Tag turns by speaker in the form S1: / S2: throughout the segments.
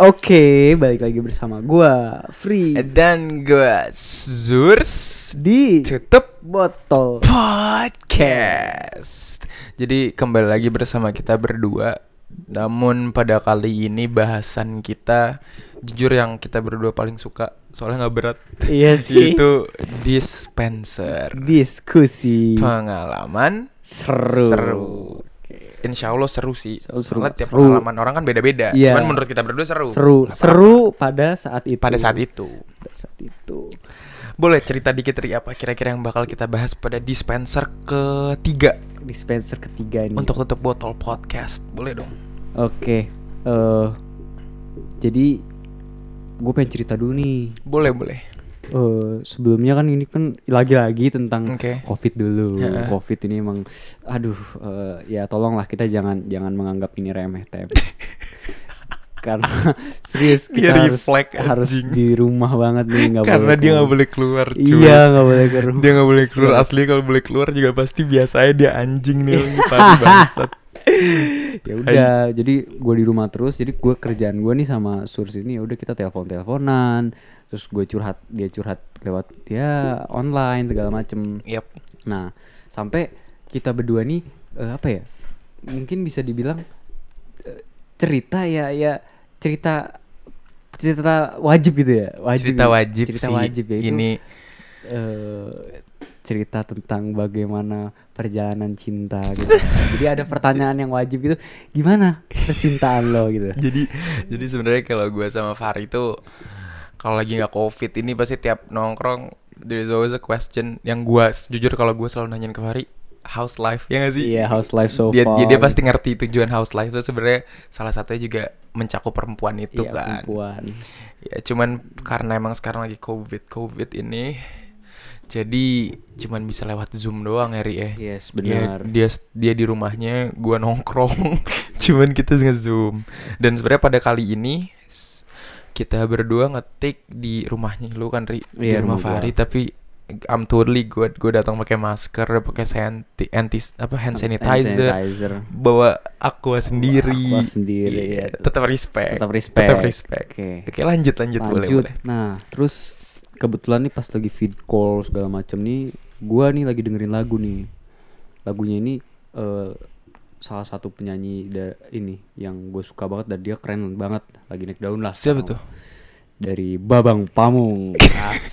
S1: Oke, balik lagi bersama gua Free
S2: Dan gue Zurs
S1: di
S2: Tutup
S1: botol.
S2: Podcast Jadi kembali lagi bersama kita berdua Namun pada kali ini bahasan kita Jujur yang kita berdua paling suka Soalnya nggak berat
S1: Iya sih.
S2: Itu dispenser
S1: Diskusi
S2: Pengalaman
S1: seru.
S2: seru. Insya Allah seru sih
S1: Seru, seru,
S2: Soalnya tiap
S1: seru.
S2: pengalaman orang kan beda-beda
S1: Iya.
S2: Cuman menurut kita berdua seru
S1: Seru,
S2: Nggak
S1: seru pada saat itu.
S2: apa-apa. Pada saat itu
S1: Pada saat itu.
S2: Boleh cerita dikit Ri apa kira-kira yang bakal kita bahas pada dispenser ketiga
S1: Dispenser ketiga ini.
S2: untuk tutup botol podcast. Boleh dong.
S1: Oke. eh, jadi gue pengen cerita dulu nih.
S2: Boleh, boleh.
S1: Eh, sebelumnya kan ini kan lagi-lagi tentang
S2: Oke.
S1: covid dulu
S2: Heeh.
S1: covid ini emang aduh eh, ya tolonglah kita jangan jangan menganggap ini remeh tem karena serius
S2: Dia
S1: kita harus
S2: reflect,
S1: harus
S2: anjing.
S1: di rumah banget nih nggak
S2: Karena
S1: boleh
S2: dia nggak
S1: keluar.
S2: boleh keluar, cuy.
S1: iya nggak boleh ke rumah
S2: Dia nggak boleh keluar asli kalau boleh keluar juga pasti biasanya dia anjing nih pasti bangsat.
S1: ya udah jadi gue di rumah terus jadi gue kerjaan gue nih sama Surs ini ya udah kita telepon teleponan terus gue curhat dia curhat lewat ya online segala macem
S2: Yap.
S1: Nah, sampai kita berdua nih eh, apa ya? Mungkin bisa dibilang eh, cerita ya ya cerita cerita wajib gitu ya, wajib.
S2: Cerita
S1: ya.
S2: wajib
S1: cerita
S2: sih.
S1: wajib ya itu.
S2: Ini
S1: eh, cerita tentang bagaimana perjalanan cinta gitu. Jadi ada pertanyaan yang wajib gitu, gimana percintaan lo gitu.
S2: jadi jadi sebenarnya kalau gue sama Fahri itu kalau lagi nggak covid ini pasti tiap nongkrong there is always a question yang gue jujur kalau gue selalu nanyain ke Fahri house life ya gak sih
S1: Iya, how's life so
S2: dia,
S1: far?
S2: dia dia pasti ngerti tujuan house life itu sebenarnya salah satunya juga mencakup perempuan itu
S1: Iya,
S2: kan
S1: perempuan.
S2: ya cuman karena emang sekarang lagi covid covid ini jadi cuman bisa lewat zoom doang Eri ya
S1: Yes,
S2: Ya,
S1: benar.
S2: dia dia di rumahnya, gua nongkrong. Cuman kita nge-zoom. Dan sebenarnya pada kali ini s- kita berdua ngetik di rumahnya lu kan Ri, di
S1: Iya, rumah
S2: rumah
S1: gua.
S2: Fahri tapi I'm totally gua gua datang pakai masker, pakai anti anti apa hand sanitizer, bawa aqua
S1: Aqua
S2: sendiri.
S1: sendiri,
S2: Iya,
S1: iya.
S2: tetap respect.
S1: Tetap respect.
S2: Tetap respect.
S1: Oke.
S2: Oke, lanjut lanjut, boleh
S1: lanjut.
S2: boleh.
S1: Nah, terus kebetulan nih pas lagi feed call segala macem nih, gua nih lagi dengerin lagu nih. Lagunya ini eh, salah satu penyanyi da- ini yang gue suka banget dan dia keren banget lagi naik daun lah.
S2: Siapa
S1: sekarang.
S2: tuh?
S1: Dari Babang Pamung.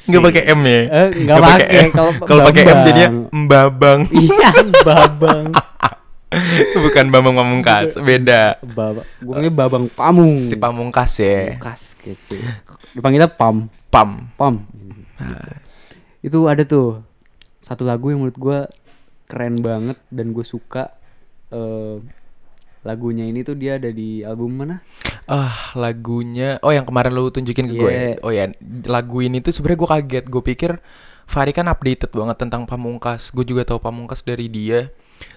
S2: Enggak pakai M ya?
S1: Eh, nggak
S2: Nggak
S1: pakai.
S2: M.
S1: Kalau
S2: Kalau pakai M jadinya
S1: Bambang.
S2: Mbabang.
S1: Iya, Babang.
S2: Bukan Bambang Pamungkas, beda.
S1: Babang. Gue Babang Pamung.
S2: Si Pamungkas ya.
S1: Kas gitu. Dipanggilnya Pam.
S2: Pam.
S1: Pam.
S2: Ah.
S1: Itu ada tuh satu lagu yang menurut gua keren banget dan gue suka eh, lagunya ini tuh dia ada di album mana?
S2: Ah, lagunya. Oh, yang kemarin lu tunjukin ke gue. ya?
S1: Iya.
S2: Oh ya, lagu ini tuh sebenarnya gue kaget. Gue pikir Fahri kan updated banget tentang Pamungkas. Gue juga tahu Pamungkas dari dia.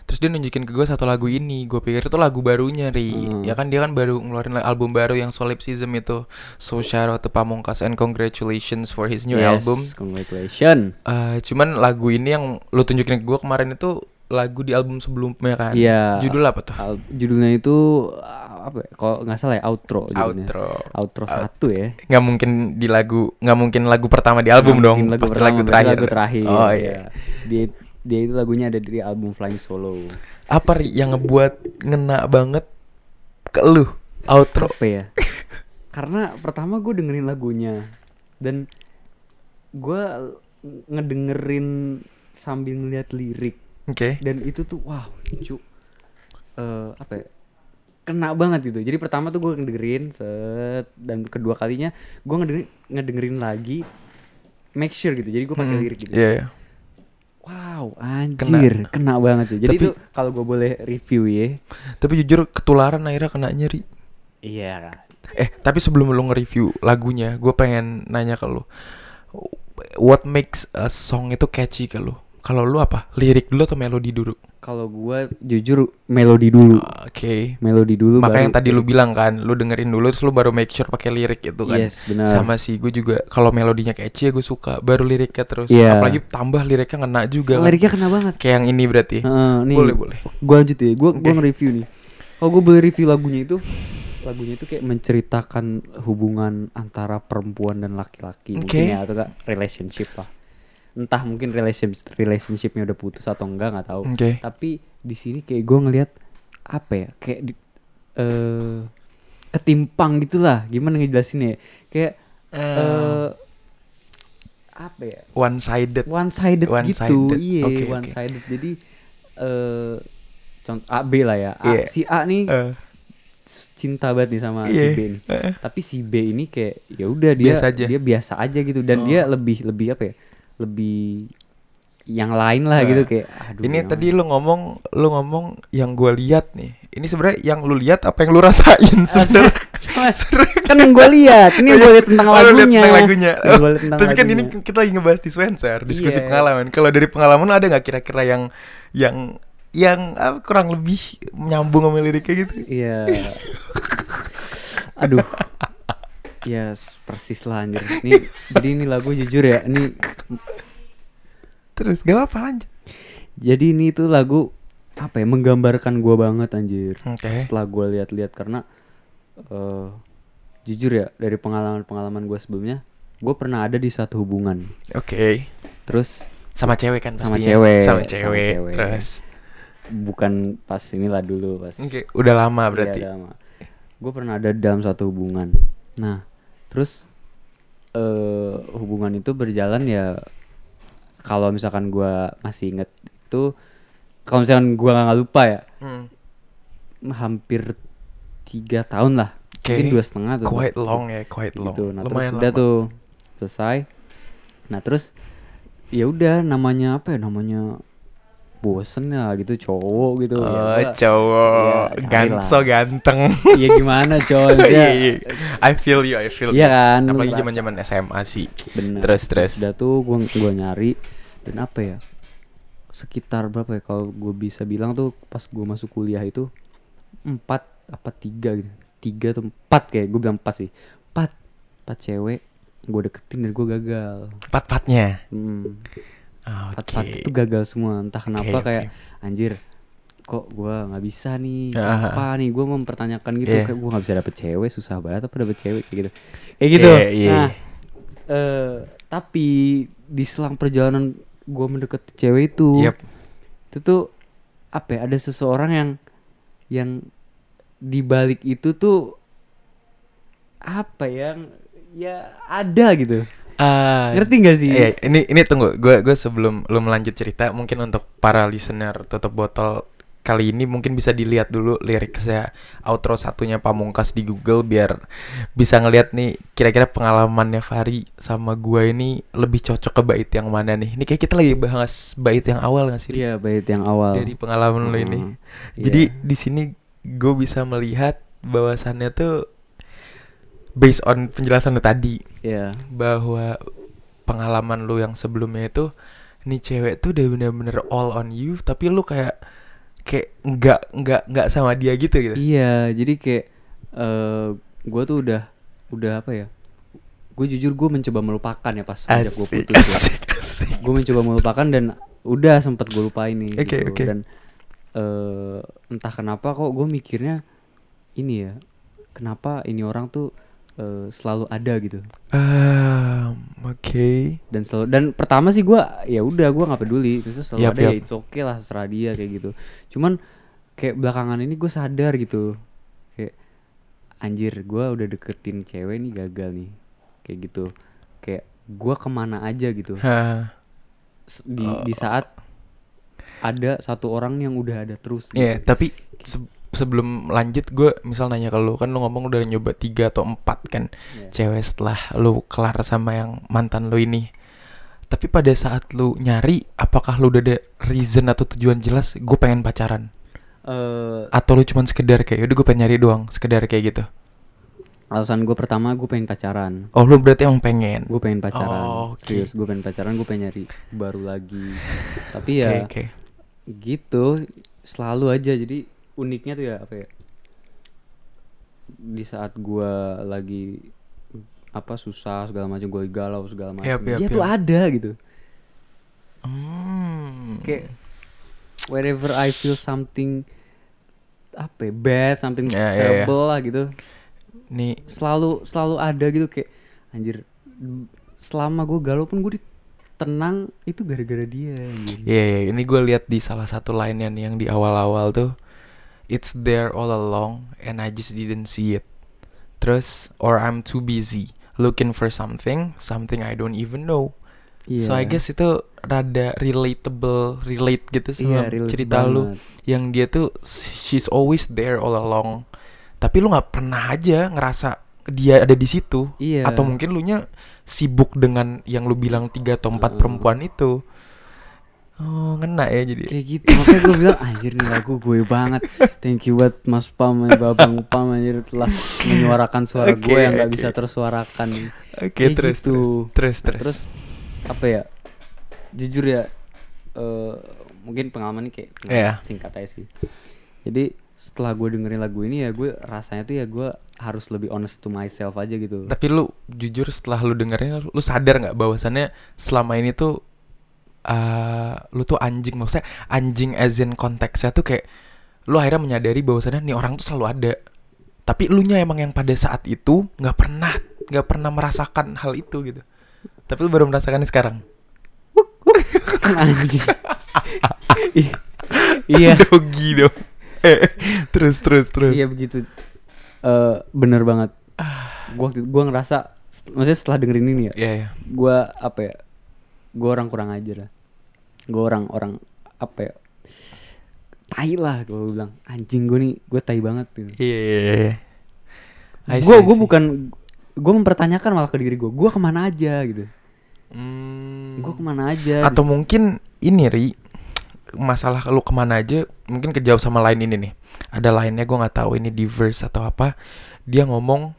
S2: Terus dia nunjukin ke gue satu lagu ini. Gue pikir itu lagu barunya, Ri.
S1: Hmm.
S2: Ya kan dia kan baru ngeluarin la- album baru yang Solipsism itu. So shout out to Pamungkas and congratulations for his new
S1: Yes,
S2: album.
S1: Congratulations.
S2: Eh, cuman lagu ini yang lu tunjukin ke gue kemarin itu lagu di album sebelumnya kan.
S1: Iya.
S2: Judul apa tuh?
S1: Al- judulnya itu uh, apa? Ya? Kalau nggak salah ya outro. judulnya.
S2: Outro.
S1: Outro satu ya.
S2: nggak mungkin di lagu nggak mungkin lagu pertama di album
S1: Mungkin
S2: dong
S1: Lagu
S2: pasti
S1: pertama,
S2: lagu
S1: berarti
S2: terakhir
S1: Lagu terakhir.
S2: oh iya
S1: ya. Dia dia itu lagunya ada di album Flying Solo.
S2: apa Ri, yang ngebuat ngena banget ke lu outro
S1: apa ya karena pertama gue dengerin lagunya dan gue ngedengerin sambil ngeliat lirik
S2: oke
S1: dan itu tuh wow cu eh, apa ya kena banget gitu jadi pertama tuh gue ngedengerin set dan kedua kalinya gue ngedengerin, ngedengerin lagi make sure gitu jadi gue pakai lirik gitu
S2: Iya, iya.
S1: wow anjir kena, banget sih jadi
S2: Tapi-
S1: itu kalau gue boleh review ya
S2: tapi jujur ketularan akhirnya kena nyeri
S1: iya
S2: eh tapi sebelum lu nge-review lagunya gue pengen nanya ke lu what makes a song itu catchy ke lu kalau lu apa lirik dulu atau melodi dulu
S1: kalau gue jujur melodi dulu
S2: oke
S1: melodi dulu
S2: Maka
S1: baru
S2: yang tadi lu bilang kan, lu dengerin dulu terus lu baru make sure pakai lirik itu kan.
S1: Yes, benar.
S2: Sama sih gue juga kalau melodinya catchy ya gue suka, baru liriknya terus.
S1: Iya.
S2: Apalagi tambah liriknya ngena juga. kan.
S1: liriknya kena banget
S2: Kayak yang ini berarti.
S1: Heeh, Eh, nih
S2: Boleh, boleh.
S1: gue lanjut ya gue gue nge-review nih kalau gue boleh review lagunya itu lagunya itu kayak menceritakan hubungan antara perempuan dan laki-laki mungkin
S2: Oke.
S1: ya atau enggak relationship lah entah mungkin relationship relationshipnya udah putus atau enggak nggak tahu
S2: Oke.
S1: tapi di sini kayak gue ngelihat apa ya kayak di, eh, ketimpang gitulah gimana ngejelasinnya ya? kayak eh, apa ya
S2: One sided.
S1: one sided gitu
S2: One-sided.
S1: iya
S2: Oke, oke.
S1: one sided jadi eh contoh A B lah ya A,
S2: Iya.
S1: si A nih
S2: Eh,
S1: cinta banget nih sama si
S2: iya.
S1: B nih
S2: Eh,
S1: tapi si B ini kayak ya udah dia
S2: Biasa aja.
S1: dia biasa aja gitu dan
S2: Oh.
S1: dia lebih lebih apa ya lebih yang lain lah
S2: Nah,
S1: gitu kayak aduh
S2: Ini
S1: yang
S2: tadi lu ngomong, lu ngomong yang gua lihat nih. Ini sebenarnya yang lu lihat apa yang lu rasain sebenarnya?
S1: Sama- kan yang gue lihat ini yang gue lihat tentang
S2: Oh, lu lihat
S1: lagunya
S2: tentang lagunya.
S1: Yang gua lihat tentang
S2: Tapi kan ini
S1: lagunya.
S2: kita lagi ngebahas dispenser, diskusi
S1: Iya.
S2: pengalaman. Kalau dari pengalaman lu ada nggak kira-kira yang yang yang ah, kurang lebih nyambung sama liriknya gitu?
S1: iya aduh ya s- persis lah anjir ini jadi ini lagu jujur ya ini
S2: Terus gak apa-apa lanjut.
S1: jadi ini tuh lagu apa ya menggambarkan gua banget anjir
S2: Oke.
S1: setelah gue lihat-lihat karena eh jujur ya dari pengalaman-pengalaman gue sebelumnya gue pernah ada di satu hubungan
S2: Oke.
S1: terus
S2: Sama cewek kan
S1: Sama
S2: pastinya?
S1: cewek,
S2: Sama
S1: sama
S2: cewek.
S1: cewek.
S2: Terus.
S1: bukan pas inilah dulu pas
S2: Oke, udah
S1: Iya,
S2: lama Ah, berarti.
S1: gue pernah ada dalam satu hubungan nah terus eh hubungan itu berjalan ya kalau misalkan gue masih inget itu kalau misalkan gue nggak lupa ya
S2: Hmm.
S1: hampir tiga tahun lah mungkin
S2: Oke.
S1: dua setengah tuh
S2: Quite long ya, quite long.
S1: gitu. Nah, terus
S2: Lumayan
S1: udah
S2: lama.
S1: tuh selesai. Nah, terus ya udah namanya apa ya namanya bosen ya gitu cowok gitu
S2: Oh,
S1: ya. gua-
S2: cowok
S1: Iya, cari
S2: gan
S1: lah.
S2: so ganteng.
S1: ya gimana coy
S2: Iya,
S1: Maksudnya,
S2: iya. I feel you, I feel
S1: Iya
S2: you.
S1: kan lu
S2: Apalagi
S1: ngerasa.
S2: zaman-zaman SMA sih.
S1: Bener.
S2: Terus, terus.
S1: udah tuh gua gua nyari dan apa ya sekitar berapa ya kalau gue bisa bilang tuh pas gue masuk kuliah itu empat apa tiga gitu tiga atau empat kayak gue bilang empat sih empat empat cewek gue deketin dan gue gagal
S2: Pat-patnya. Ah,
S1: hmm.
S2: Oke.
S1: empat itu gagal semua entah kenapa
S2: Oke,
S1: kayak anjir kok gua nggak bisa nih
S2: Ah.
S1: apa nih gua mempertanyakan gitu
S2: Iya.
S1: kayak gua nggak bisa dapet cewek susah banget apa dapet cewek kayak gitu kayak gitu
S2: Iya, iya.
S1: nah eh, tapi di selang perjalanan gua mendekati cewek itu
S2: Yep.
S1: itu tuh apa ya, ada seseorang yang yang di balik itu tuh apa yang ya ada gitu
S2: Ah,
S1: ngerti nggak sih
S2: Iya, ini ini tunggu. Gue gue sebelum lu melanjut cerita, mungkin untuk para listener tutup botol kali ini mungkin bisa dilihat dulu liriknya outro satunya Pamungkas di Google biar bisa ngelihat nih kira-kira pengalamannya Fahri sama gua ini lebih cocok ke bait yang mana nih. Ini kayak kita lagi bahas bait yang awal nggak sih?
S1: iya bait yang awal
S2: Dari pengalaman lo ini.
S1: Hmm, iya.
S2: Jadi di sini gue bisa melihat bahwasannya tuh based on penjelasan lo tadi
S1: Iya.
S2: bahwa pengalaman lu yang sebelumnya itu nih cewek tuh udah bener-bener all on you tapi lu kayak kayak nggak nggak nggak sama dia gitu gitu
S1: Iya, jadi kayak eh gue tuh udah udah apa ya? Gue jujur gue mencoba melupakan ya pas sejak gue
S2: asik
S1: putus. Ya.
S2: asik asik
S1: Gue mencoba melupakan dan udah sempet gue lupain nih.
S2: Oke,
S1: gitu.
S2: oke.
S1: Dan eh entah kenapa kok gue mikirnya ini ya, kenapa ini orang tuh eh, selalu ada gitu
S2: Um, oke
S1: dan selalu dan pertama sih gua ya udah gua nggak peduli terus selalu
S2: Yap,
S1: ada ya
S2: yap.
S1: it's okay lah serah dia kayak gitu cuman kayak belakangan ini gue sadar gitu kayak anjir gua udah deketin cewek nih gagal nih kayak gitu kayak gua kemana aja gitu
S2: Hah.
S1: S- di
S2: Eh,
S1: di saat ada satu orang yang udah ada terus gitu.
S2: Iya, tapi se- sebelum lanjut gue misal nanya ke lu kan lu ngomong udah nyoba tiga atau empat kan
S1: Iya.
S2: cewek setelah lu kelar sama yang mantan lu ini. Tapi pada saat lu nyari, apakah lu udah ada reason atau tujuan jelas? Gue pengen pacaran.
S1: Eh,
S2: Atau lu cuman sekedar kayak, udah gue pengen nyari doang, sekedar kayak gitu.
S1: alasan gue pertama gue pengen pacaran
S2: Oh lu berarti emang pengen.
S1: gue pengen pacaran
S2: Oh, oke.
S1: serius gue pengen pacaran gue pengen nyari baru lagi tapi
S2: Oke
S1: ya
S2: oke.
S1: gitu selalu aja jadi uniknya tuh ya apa ya di saat gua lagi apa susah segala macam gua lagi galau segala macam
S2: Yap, yap,
S1: dia tuh
S2: yap.
S1: ada gitu
S2: Hmm.
S1: kayak wherever I feel something apa apa ya, bad something
S2: Ya, ya, ya.
S1: terrible lah gitu
S2: Nih
S1: selalu selalu ada gitu kayak anjir selama gue galau pun gue tenang itu gara-gara dia anjir.
S2: Iya, iya, ini gue lihat di salah satu lainnya nih yang di awal-awal tuh It's there all along and I just didn't see it Terus, or I'm too busy looking for something, something I don't even know So I
S1: Iya.
S2: guess itu rada relatable, relate gitu
S1: Iya,
S2: sama
S1: relate
S2: cerita lu
S1: banget.
S2: Yang dia tuh, she's always there all along Tapi lu gak pernah aja ngerasa dia ada di situ
S1: Iya.
S2: atau mungkin lu nya sibuk dengan yang lu bilang tiga atau
S1: Heeh.
S2: empat perempuan itu oh ngena ya jadi
S1: kayak gitu makanya gue bilang anjir nih lagu gue banget thank you buat Mas Pam dan Babang Pam anjir telah menyuarakan suara
S2: Oke,
S1: gue yang gak
S2: oke.
S1: bisa tersuarakan
S2: oke
S1: kayak
S2: terus,
S1: gitu.
S2: terus
S1: Nah,
S2: terus
S1: terus apa ya jujur ya eh, mungkin pengalaman ini kayak
S2: Iya.
S1: singkat aja sih jadi setelah gue dengerin lagu ini ya gue rasanya tuh ya gue harus lebih honest to myself aja gitu
S2: tapi lu jujur setelah lu dengerin lu sadar nggak bahwasannya selama ini tuh eh lu tuh anjing maksudnya anjing as in konteksnya tuh kayak lu akhirnya menyadari bahwasannya nih orang tuh selalu ada tapi lu nya emang yang pada saat itu nggak pernah nggak pernah merasakan hal itu gitu tapi lu baru merasakannya sekarang
S1: Kan, anjing I- iya
S2: Dogi dong. Eh, terus terus terus.
S1: iya begitu Eh, bener banget gue waktu itu gue ngerasa set- maksudnya setelah dengerin ini ya
S2: Ah. Iya, iya.
S1: gue apa ya gue orang kurang ajar lah gue orang orang apa ya tai lah gue bilang anjing gue nih gue tai banget gitu
S2: Iya, iya, iya. I see,
S1: gue
S2: I
S1: gue
S2: see.
S1: bukan gue mempertanyakan malah ke diri gue gue kemana aja gitu
S2: Hmm.
S1: gue kemana aja gitu.
S2: Atau mungkin ini Ri masalah lu kemana aja mungkin kejawab sama lain ini nih ada lainnya gua nggak tahu ini di verse atau apa dia ngomong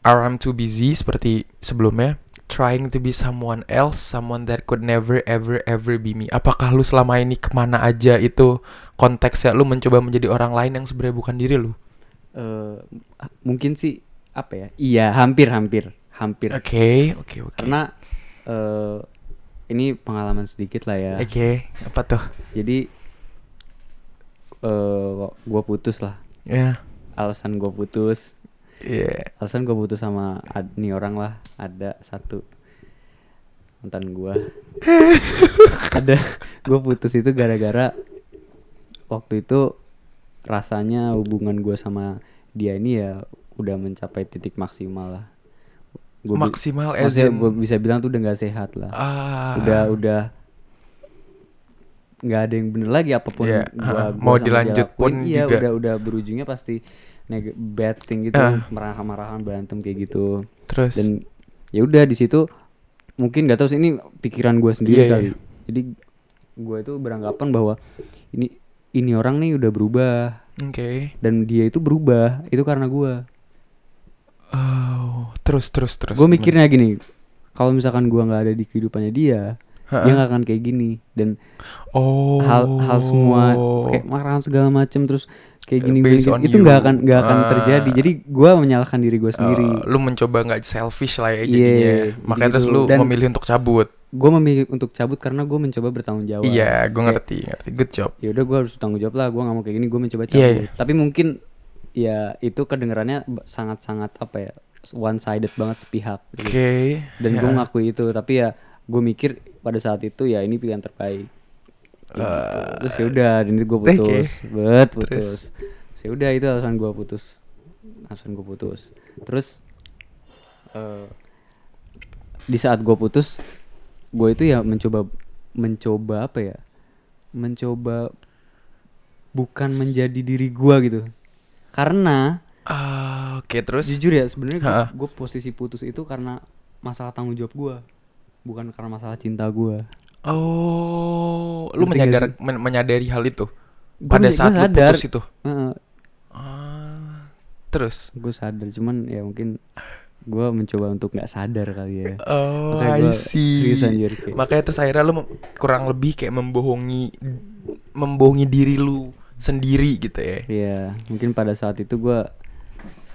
S2: I'm too busy seperti sebelumnya trying to be someone else someone that could never ever ever be me apakah lu selama ini kemana aja itu konteksnya lu mencoba menjadi orang lain yang sebenarnya bukan diri lu
S1: Eh, mungkin sih apa ya iya hampir hampir hampir
S2: Oke, oke, oke.
S1: karena eh ini pengalaman sedikit lah ya
S2: Oke, apa tuh?
S1: jadi eh gue putus lah
S2: Ya.
S1: alasan gue putus
S2: Iya.
S1: alasan gue putus sama ad, nih orang lah ada satu mantan gue ada gue putus itu gara-gara waktu itu rasanya hubungan gue sama dia ini ya udah mencapai titik maksimal lah Gua bi-
S2: Maksimal as
S1: maksudnya
S2: in-
S1: gue bisa bilang tuh udah nggak sehat lah
S2: Ah.
S1: udah udah nggak ada yang bener lagi apapun
S2: Iya,
S1: gua,
S2: ah,
S1: gua sama
S2: mau
S1: dia
S2: dilanjut
S1: lakuin,
S2: pun
S1: iya,
S2: juga.
S1: udah udah berujungnya pasti neg- bad thing gitu
S2: Ah.
S1: marah-marahan berantem kayak gitu
S2: Terus.
S1: dan ya udah di situ mungkin nggak tahu sih ini pikiran gue sendiri
S2: Iya,
S1: kali
S2: iya.
S1: jadi gue itu beranggapan bahwa ini ini orang nih udah berubah
S2: Oke.
S1: dan dia itu berubah itu karena gue
S2: Oh, terus terus terus.
S1: gue mikirnya gini kalau misalkan gue nggak ada di kehidupannya dia dia
S2: Ha-ha.
S1: nggak akan kayak gini dan
S2: Oh.
S1: hal hal semua kayak marahan segala macem terus kayak gini gini,
S2: Based
S1: gini,
S2: on
S1: itu nggak
S2: you.
S1: akan nggak akan
S2: Ah.
S1: terjadi jadi gua menyalahkan diri gue
S2: Eh,
S1: sendiri
S2: lu mencoba nggak selfish lah
S1: Iya,
S2: ya jadinya.
S1: gitu-gitu.
S2: Makanya terus lu
S1: Dan-
S2: memilih untuk cabut.
S1: gue memilih untuk cabut karena gue mencoba bertanggung jawab
S2: Iya,
S1: Kayak,
S2: gue ngerti, ngerti. Good job.
S1: ya udah gue harus tanggung jawab lah gue nggak mau kayak gini gue mencoba
S2: Iya,
S1: cabut
S2: iya.
S1: tapi mungkin ya itu kedengarannya ba- sangat-sangat apa ya one sided banget sepihak
S2: Oke.
S1: gitu. dan gue
S2: Ya.
S1: ngakui itu tapi ya gue mikir pada saat itu ya ini pilihan terbaik Kayak gitu. terus ya udah dan itu gue
S2: oke.
S1: putus bet putus
S2: Eh, Terus?
S1: terus ya udah itu alasan gue putus alasan gue putus terus eh, di saat gue putus gue itu ya mencoba mencoba apa ya mencoba bukan menjadi diri gue gitu karena
S2: Ah, oke, terus.
S1: jujur ya
S2: Ha-ha.
S1: sebenarnya gue posisi putus itu karena masalah tanggung jawab gue bukan karena masalah cinta gue
S2: Oh,
S1: Ngerti gak
S2: lu menyadar men- menyadari hal itu.
S1: Gua
S2: Pada
S1: men- gua
S2: saat lu
S1: sadar.
S2: putus itu. Ah, terus.
S1: gue sadar cuman ya mungkin gue mencoba untuk nggak sadar kali ya
S2: Oh,
S1: Makanya
S2: I
S1: gua
S2: see.
S1: serius anjir, kayak-
S2: Makanya terus akhirnya lu mem- kurang lebih kayak membohongi membohongi diri lu sendiri gitu ya.
S1: Iya mungkin pada saat itu gue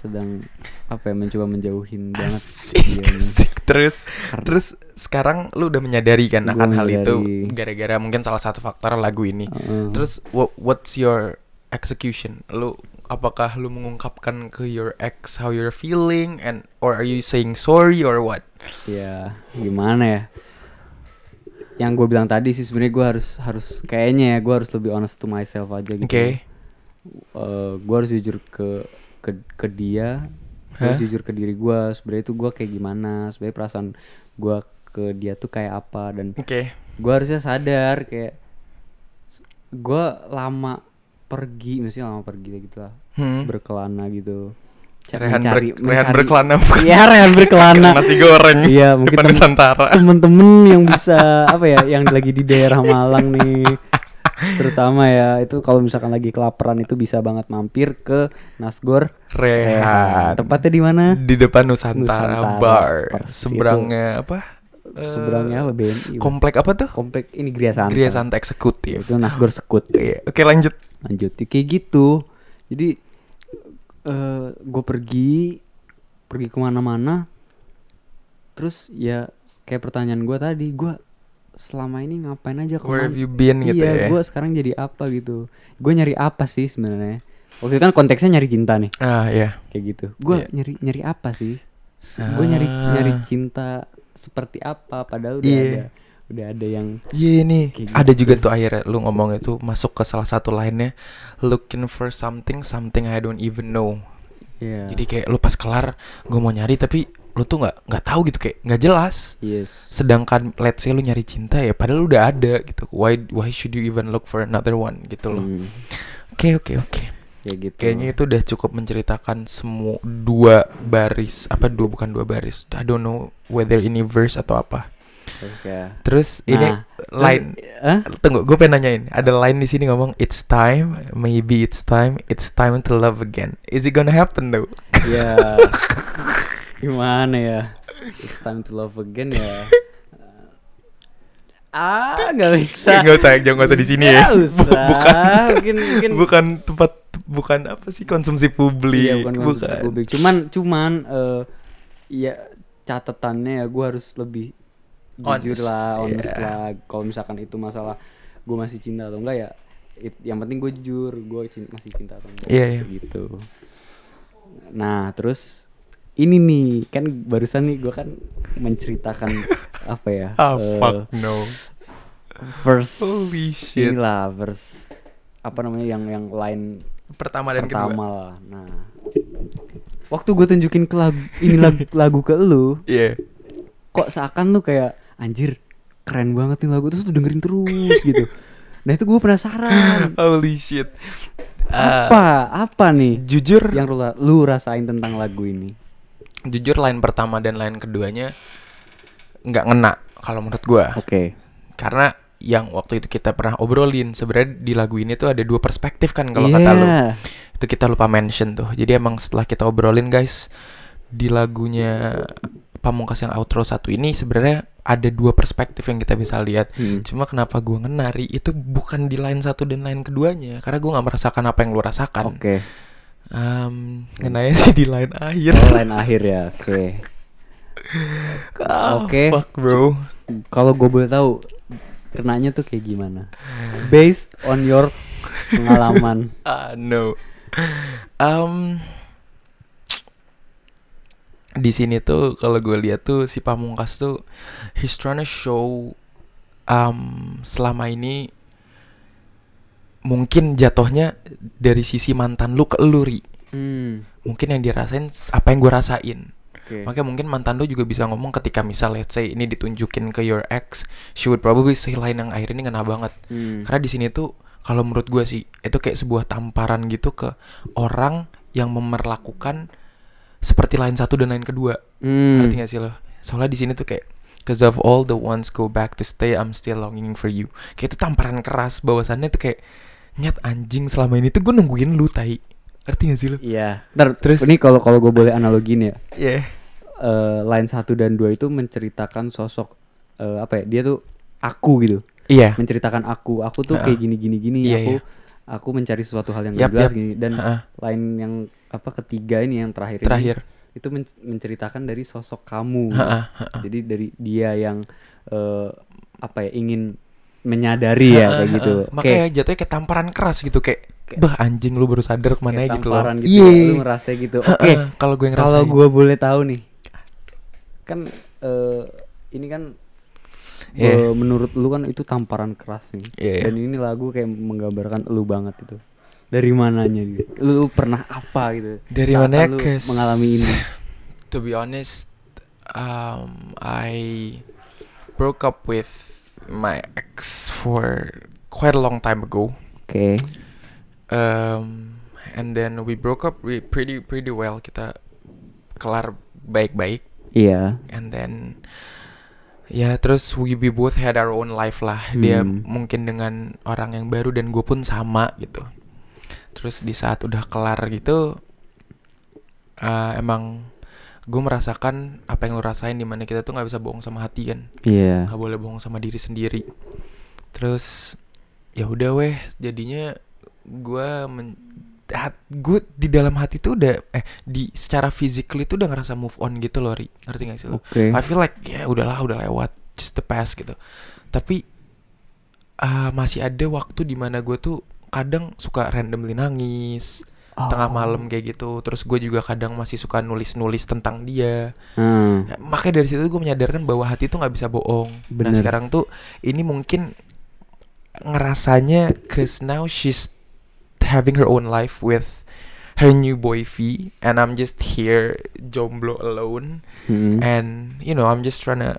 S1: sedang apa ya mencoba menjauhin banget Iya,
S2: Asik,
S1: dia nih.
S2: asik. Terus
S1: Karena-
S2: terus sekarang lu udah menyadari kan
S1: Gua
S2: akan hal itu
S1: menyadari.
S2: gara-gara mungkin salah satu faktor lagu ini.
S1: Heeh.
S2: Terus wha- what's your execution lu apakah lu mengungkapkan ke your ex how you're feeling and or are you saying sorry or what
S1: ya gimana ya yang gue bilang tadi sih sebenarnya gue harus harus kayaknya ya gue harus lebih honest to myself aja gitu
S2: oke
S1: gue Eh, harus jujur ke ke ke dia
S2: Hah?
S1: harus jujur ke diri gue sebenarnya itu gue kayak gimana sebenarnya perasaan gue ke dia tuh kayak apa dan
S2: oke
S1: gue harusnya sadar kayak gue lama pergi mesti lama pergi gitu lah
S2: Hmm.
S1: berkelana gitu Ca-
S2: Rehan, ber,
S1: mencari-
S2: Rehan
S1: mencari-
S2: berkelana
S1: iya rehan berkelana
S2: nasi goreng
S1: iya mungkin
S2: depan
S1: tem-
S2: Nusantara
S1: temen-temen yang bisa apa ya yang lagi di daerah Malang nih terutama ya itu kalau misalkan lagi kelaparan itu bisa banget mampir ke Nasgor
S2: Rehan
S1: tempatnya di mana
S2: di depan Nusantara,
S1: Nusantara,
S2: Bar
S1: persis Iya.
S2: seberangnya apa Eh,
S1: seberangnya apa BNI
S2: komplek apa tuh
S1: komplek ini Gria Santa
S2: Gria Santa Eksekutif
S1: itu Nasgor Sekut
S2: Iya, oke lanjut
S1: lanjut Ya, kayak gitu jadi eh gue pergi pergi kemana-mana terus ya kayak pertanyaan gue tadi gue selama ini ngapain aja
S2: where have
S1: kemana-
S2: you been gitu
S1: iya
S2: ya
S1: gue sekarang jadi apa gitu gue nyari apa sih sebenarnya waktu itu kan konteksnya nyari cinta nih
S2: ah iya
S1: kayak gitu gue
S2: Iya.
S1: nyari nyari apa sih gue nyari
S2: Ah.
S1: nyari cinta seperti apa padahal udah
S2: Iya.
S1: ada udah ada yang
S2: Iya nih,
S1: Kayak gitu.
S2: ada juga tuh akhirnya lu ngomong itu masuk ke salah satu lainnya looking for something something I don't even know.
S1: ya
S2: Jadi kayak lu pas kelar gue mau nyari tapi lu tuh nggak nggak tahu gitu kayak nggak jelas.
S1: yes
S2: Sedangkan let's say lu nyari cinta ya padahal udah ada gitu. Why why should you even look for another one gitu loh.
S1: Hmm,
S2: Oke oke oke.
S1: ya gitu
S2: Kayaknya itu udah cukup menceritakan semua dua baris apa dua bukan dua baris. I don't know whether ini verse atau apa.
S1: Oke.
S2: Terus ini
S1: Nah, Terus- eh?
S2: line
S1: Hah?
S2: Tunggu, gue pengen nanyain. Ada line di sini ngomong it's time, maybe it's time, it's time to love again. Is it gonna happen though?
S1: Ya. Gimana ya? It's time to love again ya. Ah, nggak bisa.
S2: Enggak usah, jangan usah di sini ya.
S1: Nggak usah.
S2: Bu- Bukan,
S1: Mungkin mungkin
S2: bukan tempat, bukan apa sih konsumsi publik.
S1: Iya, bukan konsumsi publik. Cuman cuman eh ya catatannya ya gue harus lebih jujur
S2: Honest,
S1: lah, honest
S2: iya.
S1: lah. Kalau misalkan itu masalah gue masih cinta atau enggak ya it- yang penting gue jujur, gue masih cinta atau enggak
S2: Iya, iya.
S1: gitu. Nah, terus ini nih kan barusan nih gue kan menceritakan apa ya?
S2: Ah
S1: eh,
S2: fuck no.
S1: Verse
S2: Holy shit.
S1: inilah verse apa namanya yang yang lain
S2: Pertama dan kedua.
S1: pertama lah. Nah, waktu gue tunjukin ke lagu ini lagu, lagu ke lu,
S2: Iya.
S1: kok seakan lu kayak anjir keren banget nih lagu terus lu dengerin terus gitu. Nah itu gue penasaran
S2: Holy shit. Ah,
S1: apa apa nih
S2: jujur,
S1: yang lu, lu rasain tentang lagu ini?
S2: jujur line pertama dan line keduanya nggak ngena kalau menurut gua.
S1: Oke.
S2: karena yang waktu itu kita pernah obrolin sebenarnya di lagu ini tuh ada dua perspektif kan kalau kata lu
S1: Iya.
S2: itu kita lupa mention tuh jadi emang setelah kita obrolin guys di lagunya pamungkas yang outro satu ini sebenarnya ada dua perspektif yang kita bisa lihat
S1: Hmm.
S2: cuma kenapa gua ngenari itu bukan di line satu dan line keduanya karena gua nggak merasakan apa yang lu rasakan
S1: Oke.
S2: Em, ngenanya sih di line akhir
S1: Oh, Lain akhir ya. Oke.
S2: Ah,
S1: Oke.
S2: fuck bro
S1: Kalau gue boleh tahu kenanya tuh kayak gimana? Based on your pengalaman.
S2: Ah no. Um, di sini tuh kalau gue lihat tuh si Pamungkas tuh he's trying to show um, selama ini mungkin jatuhnya dari sisi mantan lu ke lu Ri.
S1: Hmm.
S2: Mungkin yang dirasain s- apa yang gue rasain.
S1: Oke.
S2: Makanya mungkin mantan lu juga bisa ngomong ketika misal let's say ini ditunjukin ke your ex, she would probably say line yang akhir ini ngena banget.
S1: Hmm.
S2: Karena di sini tuh kalau menurut gue sih itu kayak sebuah tamparan gitu ke orang yang memerlakukan seperti lain satu dan lain kedua.
S1: Hmm.
S2: Ngerti gak sih lo? Soalnya di sini tuh kayak Cause of all the ones go back to stay, I'm still longing for you. Kayak itu tamparan keras bahwasannya tuh kayak nyet anjing selama ini tuh gue nungguin lu tai. Ngerti gak sih lo?
S1: Iya. Ntar
S2: Terus-
S1: terus ini kalau kalau gue boleh analogin ya, eh
S2: Iya.
S1: line 1 dan 2 itu menceritakan sosok eh, apa ya? Dia tuh aku gitu.
S2: Iya.
S1: Menceritakan aku. Aku tuh
S2: Heeh.
S1: kayak gini gini gini
S2: Iya,
S1: aku aku mencari sesuatu hal yang
S2: Yap,
S1: gak jelas
S2: yap.
S1: gini dan
S2: Heeh.
S1: line yang apa ketiga ini yang terakhir ini,
S2: Terakhir.
S1: itu men- menceritakan dari sosok kamu.
S2: Heeh.
S1: Jadi dari dia yang eh, apa ya ingin menyadari ya kayak gitu.
S2: Makanya jatuhnya kayak tamparan keras gitu kayak
S1: kayak
S2: bah anjing lu baru sadar kemana
S1: kayak
S2: gitu loh
S1: tamparan ya,
S2: Iya.
S1: lu ngerasa gitu oke
S2: Heeh, kalau gue ngerasa
S1: kalau gue boleh tahu nih kan eh, ini kan eh,
S2: Iya.
S1: menurut lu kan itu tamparan keras nih
S2: Iya, iya.
S1: dan ini lagu kayak menggambarkan lu banget itu dari mananya gitu lu pernah apa gitu
S2: dari
S1: saat
S2: mana ya,
S1: lu
S2: ke
S1: mengalami ini
S2: to be honest um I broke up with my ex for quite a long time ago
S1: oke
S2: um and then we broke up re- pretty pretty well kita kelar baik-baik
S1: iya
S2: and then ya terus we, we both had our own life lah dia
S1: Hmm.
S2: mungkin dengan orang yang baru dan gue pun sama gitu terus di saat udah kelar gitu eh, emang gue merasakan apa yang lo rasain dimana kita tuh nggak bisa bohong sama hati kan
S1: iya
S2: nggak boleh bohong sama diri sendiri terus ya udah weh jadinya gua men gue di dalam hati tuh udah eh di secara physically tuh udah ngerasa move on gitu loh Ri ngerti gak sih lo
S1: oke
S2: I feel like ya udahlah udah lewat just the past gitu tapi ah, masih ada waktu dimana gue tuh kadang suka randomly nangis tengah
S1: Oh.
S2: malam kayak gitu terus gue juga kadang masih suka nulis-nulis tentang dia
S1: Hmm.
S2: Nah, makanya dari situ gue menyadarkan bahwa hati tuh nggak bisa bohong. Nah
S1: Bener.
S2: sekarang tuh ini mungkin ngerasanya cause now she's having her own life with her new boy V and I'm just here jomblo alone
S1: Mm-mm.
S2: Mm-hmm. and you know I'm just trying to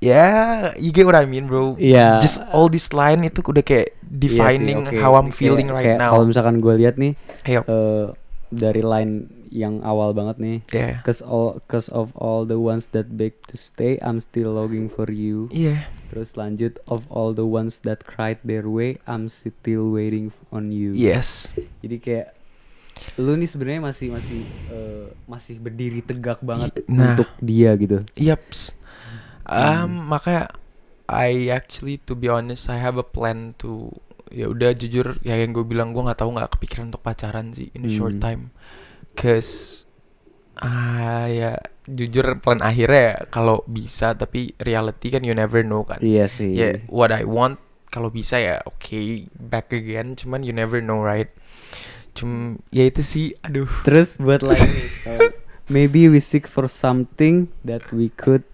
S2: yeah you get what I mean bro
S1: Iya.
S2: just all this line itu udah kayak
S1: Iya sih,
S2: defining
S1: oke.
S2: how I'm
S1: Kayak-
S2: feeling right
S1: kayak
S2: now
S1: Kalau misalkan gue lihat nih
S2: Ayo.
S1: eh, dari line yang awal banget nih.
S2: yeah
S1: Cause all, cause of all the ones that beg to stay, I'm still longing for you.
S2: yeah
S1: Terus lanjut of all the ones that cried their way, I'm still waiting on you.
S2: yes
S1: Jadi kayak lu nih sebenarnya masih masih eh, masih berdiri tegak banget
S2: Nah.
S1: untuk dia gitu.
S2: Yeps.
S1: Hmm.
S2: Um, makanya I actually to be honest I have a plan to ya udah jujur ya yang gue bilang gue nggak tahu nggak kepikiran untuk pacaran sih in a short
S1: Hmm.
S2: time cause ah ya jujur plan akhirnya ya kalau bisa tapi reality kan you never know kan
S1: Iya sih.
S2: yeah, what I want kalau bisa ya oke back again cuman you never know right cum ya itu sih aduh
S1: Terus buat lagi nih, kayak, maybe we seek for something that we could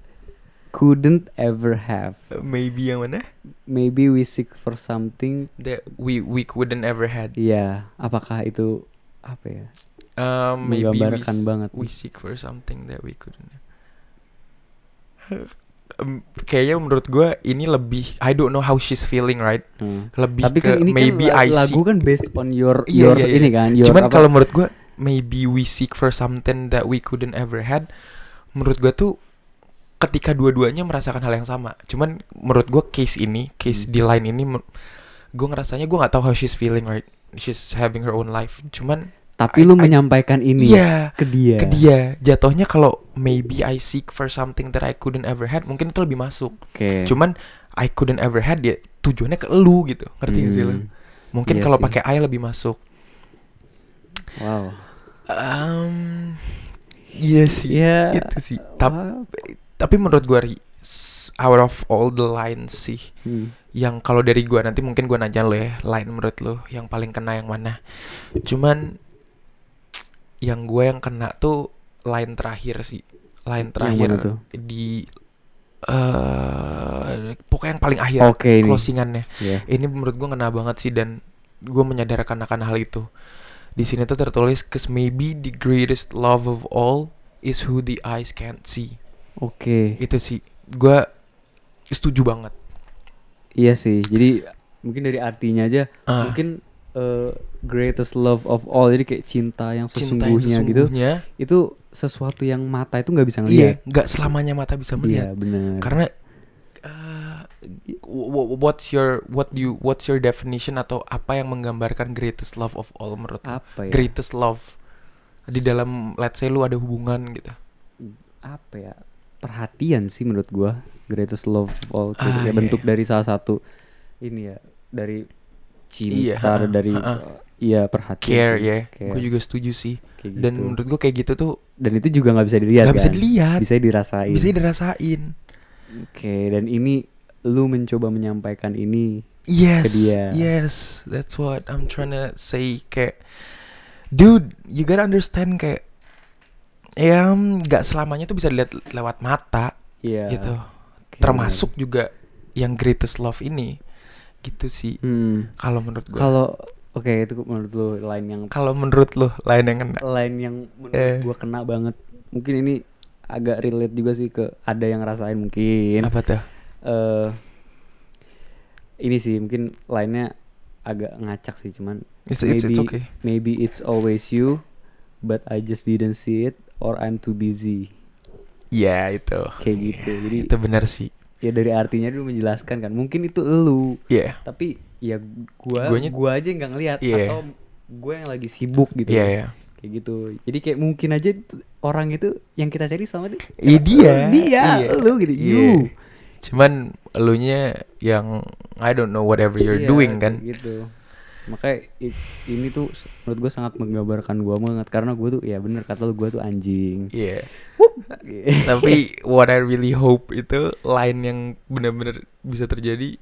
S1: couldn't ever have.
S2: maybe yang mana
S1: Maybe we seek for something.
S2: that we we couldn't ever had
S1: Iya, apakah itu apa ya?
S2: Um, maybe we
S1: Menggambarkan
S2: s-
S1: banget.
S2: We seek for something that we couldn't. Em, kayaknya menurut gue ini lebih I don't know how she's feeling right.
S1: Hmm.
S2: Lebih
S1: Tapi
S2: ke
S1: kan ini
S2: maybe
S1: kan la-
S2: I
S1: lagu
S2: seek.
S1: kan based on your
S2: Iya,
S1: your
S2: iya, iya.
S1: ini kan. Your
S2: Cuman
S1: apa-
S2: kalau menurut gue maybe we seek for something that we couldn't ever had. Menurut gue tuh ketika dua-duanya merasakan hal yang sama. Cuman menurut gue case ini, case
S1: Hmm.
S2: di line ini gue ngerasanya gue nggak tahu how she's feeling right. She's having her own life. Cuman
S1: tapi
S2: I-
S1: lu
S2: I-
S1: menyampaikan ini ya?
S2: iya
S1: ke dia.
S2: ke dia jatuhnya kalau maybe I seek for something that I couldn't ever had mungkin itu lebih masuk
S1: Oke.
S2: cuman I couldn't ever had ya tujuannya ke lu gitu ngerti gak sih lu
S1: Hmm.
S2: mungkin
S1: iya
S2: kalau
S1: sih.
S2: pakai I lebih masuk
S1: Wow.
S2: um, iya sih
S1: Iya.
S2: itu sih Tap-
S1: wow.
S2: tapi menurut gua Ri, s- out of all the lines sih
S1: Hmm.
S2: yang kalau dari gua nanti mungkin gua nanya lo ya lain menurut lo yang paling kena yang mana cuman yang gue yang kena tuh line terakhir sih line
S1: mana
S2: terakhir
S1: tuh?
S2: di eh pokoknya yang paling akhir
S1: Oke ini.
S2: closingannya
S1: Iya.
S2: ini menurut gua kena banget sih dan gua menyadarkan akan hal itu di sini tuh tertulis cause maybe the greatest love of all is who the eyes can't see
S1: Oke.
S2: itu sih gua setuju banget
S1: Iya sih. Jadi mungkin dari artinya aja
S2: Ah.
S1: mungkin eh, greatest love of all jadi kayak cinta yang
S2: cinta yang
S1: sesungguhnya, gitu.
S2: sesungguhnya,
S1: Itu sesuatu yang mata itu nggak bisa
S2: Iya,
S1: ngelihat.
S2: nggak selamanya mata bisa
S1: Iya,
S2: melihat.
S1: benar.
S2: Karena uh, w- w- what's your what you what's your definition atau apa yang menggambarkan greatest love of all menurut lo?
S1: Apa ya?
S2: Greatest love di dalam let's say lu ada hubungan gitu.
S1: Apa ya? Perhatian sih menurut gua. Greatest love of all gitu.
S2: Ah,
S1: Ya,
S2: iya,
S1: bentuk
S2: iya.
S1: dari salah satu ini ya dari
S2: Iya,
S1: cinta
S2: ha-ha,
S1: dari
S2: ha-ha.
S1: iya perhatian
S2: Care
S1: sih.
S2: ya.
S1: Care,
S2: Gue juga setuju sih.
S1: kayak
S2: Dan
S1: gitu.
S2: menurut gue kayak gitu tuh
S1: dan itu juga nggak bisa dilihat
S2: nggak bisa
S1: kan?
S2: dilihat,
S1: Bisa dirasain.
S2: bisa dirasain.
S1: Oke, dan ini lu mencoba menyampaikan ini
S2: Yes.
S1: dia.
S2: Yes, that's what I'm trying to say kayak dude, you gotta understand kayak ya nggak selamanya tuh bisa dilihat lewat mata
S1: Iya.
S2: gitu.
S1: Oke.
S2: Termasuk juga yang greatest love ini. Gitu sih
S1: Hmm.
S2: kalau menurut gua.
S1: Kalau oke itu menurut lu lain yang
S2: Kalau menurut lo lain yang kena.
S1: lain yang menurut
S2: Eh.
S1: gua kena banget. Mungkin ini agak relate juga sih ke ada yang rasain mungkin.
S2: Apa tuh?
S1: eh ini sih mungkin lainnya agak ngacak sih cuman
S2: It's- it's- it's okay.
S1: maybe it's always you but I just didn't see it or I'm too busy
S2: Iya, itu.
S1: kayak gitu jadi
S2: Itu benar sih.
S1: ya dari artinya dulu menjelaskan kan mungkin itu elu
S2: Iya.
S1: tapi ya gua
S2: Guanya-
S1: gua aja nggak ngelihat
S2: Iya.
S1: atau gue yang lagi sibuk gitu
S2: Iya, iya.
S1: kayak gitu jadi kayak mungkin aja itu- orang itu yang kita cari sama dia
S2: Iya dia.
S1: dia lu gitu
S2: Iya.
S1: you
S2: Cuman elunya yang I don't know whatever you're
S1: Iya,
S2: doing
S1: kayak
S2: kan.
S1: gitu makanya i- ini tuh s- menurut gue sangat menggambarkan gue banget karena gue tuh ya bener kata lu gue tuh anjing
S2: Iya.
S1: Wup. Iya.
S2: Tapi what I really hope itu line yang benar-benar bisa terjadi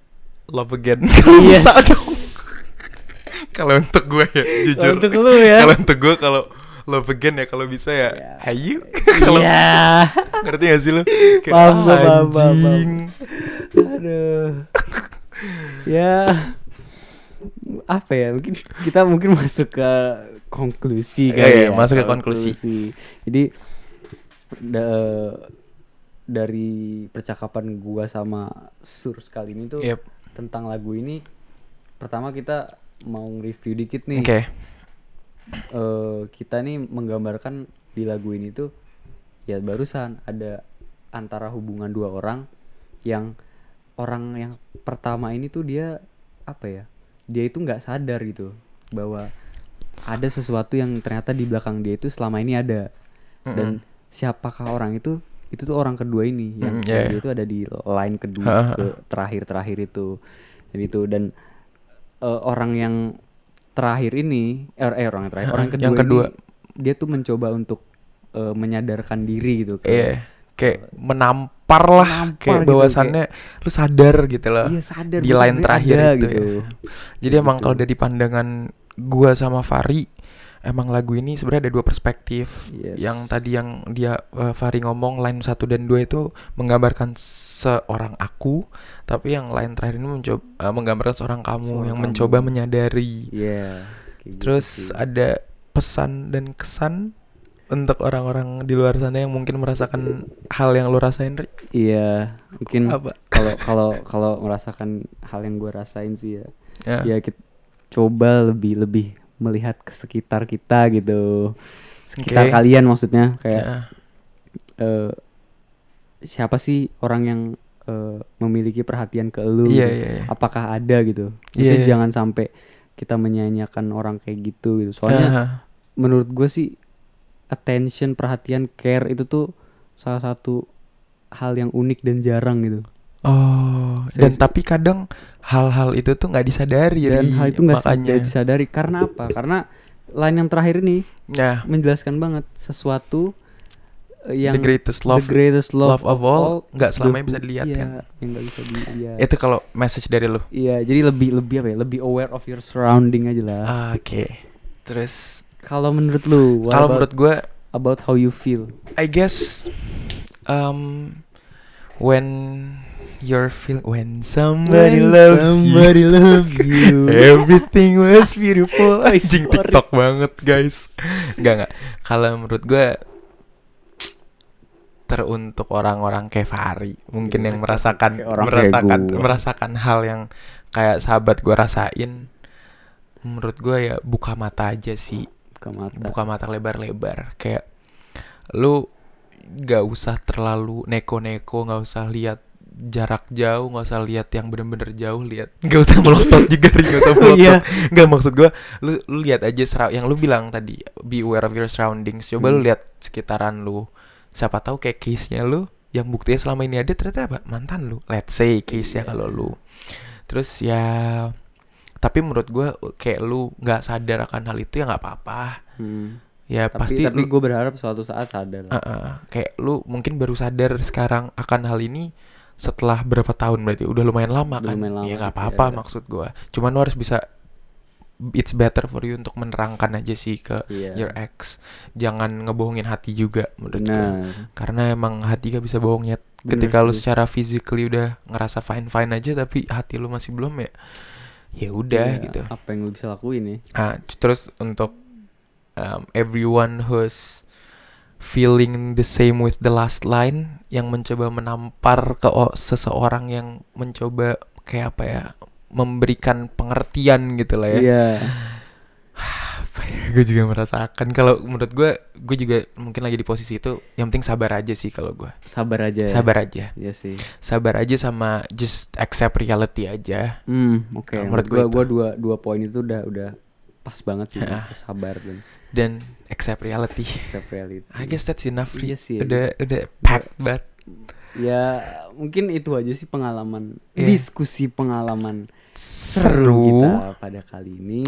S2: love again. Kalau
S1: Yes.
S2: bisa dong. kalau untuk gue ya jujur.
S1: Kalau untuk lu ya.
S2: Kalau untuk gue kalau love again ya kalau bisa ya.
S1: Ya.
S2: Hayu. kalau
S1: Iya.
S2: ngerti gak sih lu? Kayak,
S1: Paham gua, paham, paham, paham.
S2: anjing.
S1: aduh ya apa ya mungkin kita mungkin masuk ke konklusi kan
S2: Iya, iya, masuk ke konklusi.
S1: jadi da- dari percakapan gua sama Sur kali ini tuh
S2: Yep.
S1: tentang lagu ini pertama kita mau review dikit nih
S2: Oke.
S1: eh, kita nih menggambarkan di lagu ini tuh ya barusan ada antara hubungan dua orang yang orang yang pertama ini tuh dia apa ya dia itu nggak sadar gitu bahwa ada sesuatu yang ternyata di belakang dia itu selama ini ada dan siapakah orang itu itu tuh orang kedua ini yang
S2: Mm, yeah,
S1: dia itu ada di line kedua
S2: Ha, ha,
S1: ke terakhir terakhir itu dan itu dan eh, orang yang terakhir ini eh, eh, orang yang terakhir orang kedua,
S2: yang kedua.
S1: ini, dia tuh mencoba untuk eh, menyadarkan diri gitu
S2: Iya.
S1: kayak,
S2: Kayak menampar lah
S1: Menampar
S2: kayak
S1: gitu,
S2: bawasannya lu sadar gitu loh.
S1: Iya, gitu. sadar, gua
S2: di
S1: tuh
S2: line
S1: sebenarnya
S2: terakhir
S1: ada
S2: itu.
S1: gitu.
S2: ya. Jadi emang kalau dari pandangan gua sama Fari emang lagu ini sebenarnya ada dua perspektif.
S1: Yes.
S2: Yang tadi yang dia eh, Fari ngomong line 1 dan 2 itu menggambarkan seorang aku, tapi yang line terakhir ini mencoba eh, menggambarkan seorang kamu
S1: Seorang
S2: yang
S1: kamu.
S2: mencoba menyadari.
S1: Iya, kayak gitu sih.
S2: Terus ada pesan dan kesan untuk orang-orang di luar sana yang mungkin merasakan hal yang lu rasain, Ri.
S1: Iya, mungkin
S2: Apa?
S1: kalau kalau kalau merasakan hal yang gue rasain sih ya.
S2: Ya.
S1: Ya kita coba lebih lebih melihat ke sekitar kita gitu. Sekitar
S2: Oke.
S1: kalian maksudnya kayak
S2: Ya.
S1: eh, siapa sih orang yang eh, memiliki perhatian ke lu?
S2: Iya,
S1: gitu?
S2: iya, iya.
S1: Apakah ada gitu?
S2: Iya,
S1: Maksudnya
S2: iya.
S1: jangan sampai kita menyanyiakan orang kayak gitu gitu. Soalnya
S2: Ah,
S1: menurut gue sih attention perhatian care itu tuh salah satu hal yang unik dan jarang gitu
S2: Oh, dan
S1: Serius.
S2: tapi kadang hal-hal itu tuh nggak disadari
S1: dan
S2: Ri.
S1: hal itu nggak
S2: Iya, makanya.
S1: sadar- disadari karena apa karena line yang terakhir ini
S2: Nah,
S1: menjelaskan banget sesuatu eh, yang
S2: the greatest love.
S1: the greatest love,
S2: love of all,
S1: is
S2: nggak selamanya
S1: the-
S2: bisa dilihat,
S1: iya,
S2: kan?
S1: yang nggak bisa dilihat
S2: Itu kalau message dari lu.
S1: iya jadi lebih lebih apa ya lebih aware of your surrounding aja lah
S2: Ah, Oke. Terus
S1: kalau menurut lu what
S2: kalau
S1: about,
S2: menurut gue,
S1: about how you feel
S2: I guess um when you're feeling when somebody
S1: When
S2: loves
S1: somebody
S2: you,
S1: love you.
S2: everything was beautiful.
S1: Oh,
S2: Anjing
S1: sorry.
S2: TikTok banget, guys. Enggak enggak. Kalau menurut gue teruntuk orang-orang kayak Fahri mungkin yang merasakan
S1: Iya, Kayak orang kayak
S2: merasakan
S1: gua.
S2: merasakan hal yang kayak sahabat gue rasain menurut gue ya buka mata aja sih
S1: ke mata
S2: buka mata lebar-lebar kayak lu gak usah terlalu neko-neko nggak usah lihat jarak jauh nggak usah lihat yang bener-bener jauh lihat nggak usah melotot juga Ri, nggak usah melotot
S1: Iya.
S2: nggak maksud gua lu lu lihat aja sera- yang lu bilang tadi be aware of your surroundings coba lu
S1: Hmm.
S2: lihat sekitaran lu siapa tahu kayak case nya lu yang buktinya selama ini ada ternyata apa mantan lu let's say case
S1: Iya.
S2: ya kalau lu terus ya tapi menurut gua kayak lu nggak sadar akan hal itu ya nggak apa-apa
S1: Hmm.
S2: ya
S1: tapi
S2: pasti
S1: tapi
S2: lu- Ah,
S1: gue berharap suatu saat sadar lah.
S2: Uh-uh. kayak lu mungkin baru sadar sekarang akan hal ini setelah berapa tahun berarti udah lumayan
S1: Udah
S2: lama kan
S1: lumayan lama
S2: ya nggak
S1: sih,
S2: apa-apa
S1: iya.
S2: maksud gua cuman lu harus bisa it's better for you untuk menerangkan aja sih ke
S1: Iya.
S2: your ex jangan ngebohongin hati juga menurut gua
S1: Benar.
S2: karena emang hati gak bisa bohongnya
S1: Bener
S2: ketika lu
S1: sih.
S2: secara physically udah ngerasa fine fine aja tapi hati lu masih belum ya ya udah
S1: Iya,
S2: gitu
S1: Apa yang lu bisa lakuin ya?
S2: Ah, c- terus untuk um, everyone who's feeling the same with the last line yang mencoba menampar ke o- seseorang yang mencoba kayak apa ya memberikan pengertian gitu lah ya
S1: Iya.
S2: apa ya gue juga merasakan kalau menurut gue gue juga mungkin lagi di posisi itu yang penting sabar aja sih kalau gue
S1: Sabar aja. ya.
S2: sabar aja
S1: Iya sih.
S2: sabar aja sama just accept reality aja
S1: Hmm, oke.
S2: Kalau
S1: Menurut
S2: menurut gua
S1: gua, gua
S2: itu. Ah.
S1: dua dua poin itu udah udah pas banget sih.
S2: Heeh.
S1: Sabar dan
S2: dan accept reality
S1: accept reality.
S2: I guess that's enough Ri.
S1: Iya sih,
S2: udah udah packed banget
S1: Ya mungkin itu aja sih pengalaman
S2: Iya.
S1: diskusi pengalaman
S2: seru
S1: kita pada kali ini.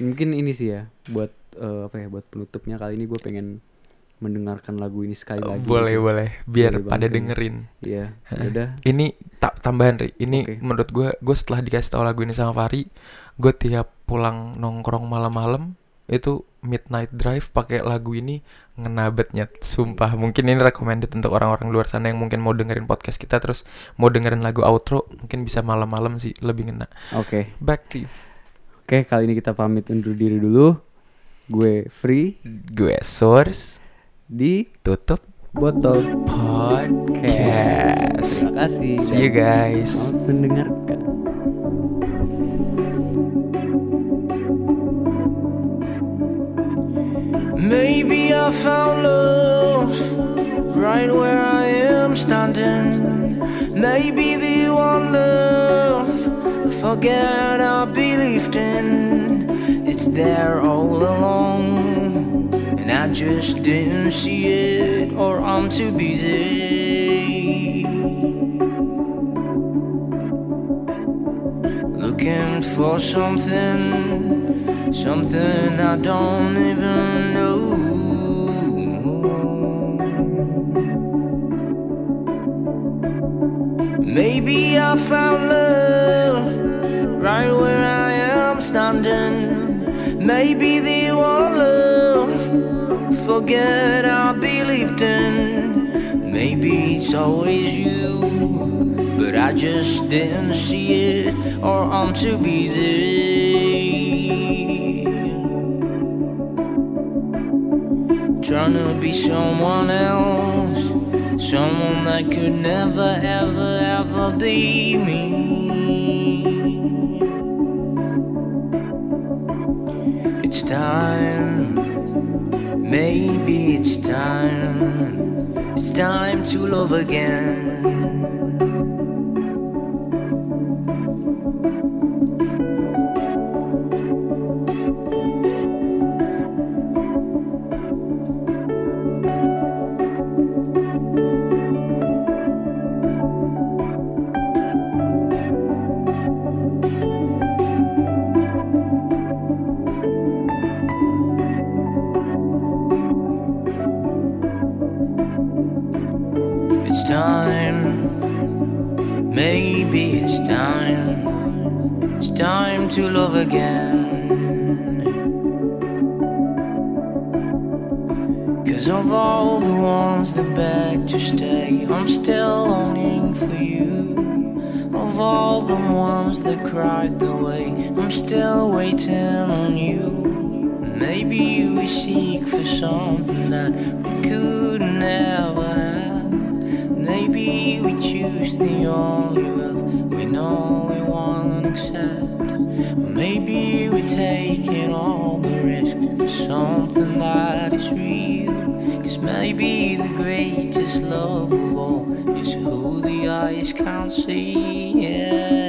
S1: Mungkin ini sih ya buat eh, apa ya buat penutupnya kali ini gue pengen mendengarkan lagu ini sekali lagi.
S2: boleh
S1: gitu.
S2: boleh biar
S1: Boleh
S2: pada
S1: banget ini.
S2: dengerin
S1: Iya.
S2: Heeh.
S1: Udah.
S2: ini tak tambahan Ri ini
S1: Oke.
S2: menurut gue gue setelah dikasih tahu lagu ini sama Fari gue tiap pulang nongkrong malam-malam itu midnight drive pakai lagu ini ngena banget, Nyet. sumpah mungkin ini recommended untuk orang-orang luar sana yang mungkin mau dengerin podcast kita terus mau dengerin lagu outro mungkin bisa malam-malam sih lebih ngena
S1: Oke.
S2: back to you.
S1: Oke, kali ini kita pamit undur diri dulu. Gue free
S2: gue source
S1: di
S2: tutup
S1: botol
S2: podcast
S1: Terima kasih.
S2: see you guys
S1: Selamat mendengarkan.
S3: Maybe I found love right where I am standing. Maybe the one love I forget I believed in. It's there all along, and I just didn't see it, or I'm too busy. Looking for something, something I don't even know. Maybe I found love right where I am standing. Maybe the one love forget I believed in. Maybe it's always you, but I just didn't see it, or I'm too busy trying to be someone else, someone that could never, ever, ever be me. It's time, maybe it's time, it's time to love again. It's time. Maybe it's time. It's time to love again. Cause of all the ones that beg to stay, I'm still longing for you. Of all the ones that cried the way, I'm still waiting on you. Maybe we seek for something that we could never have. Maybe we choose the only love we know we won't accept. Or maybe we're taking all the risks for something that is real. Cause maybe the greatest love of all is who the eyes can't see. Yeah.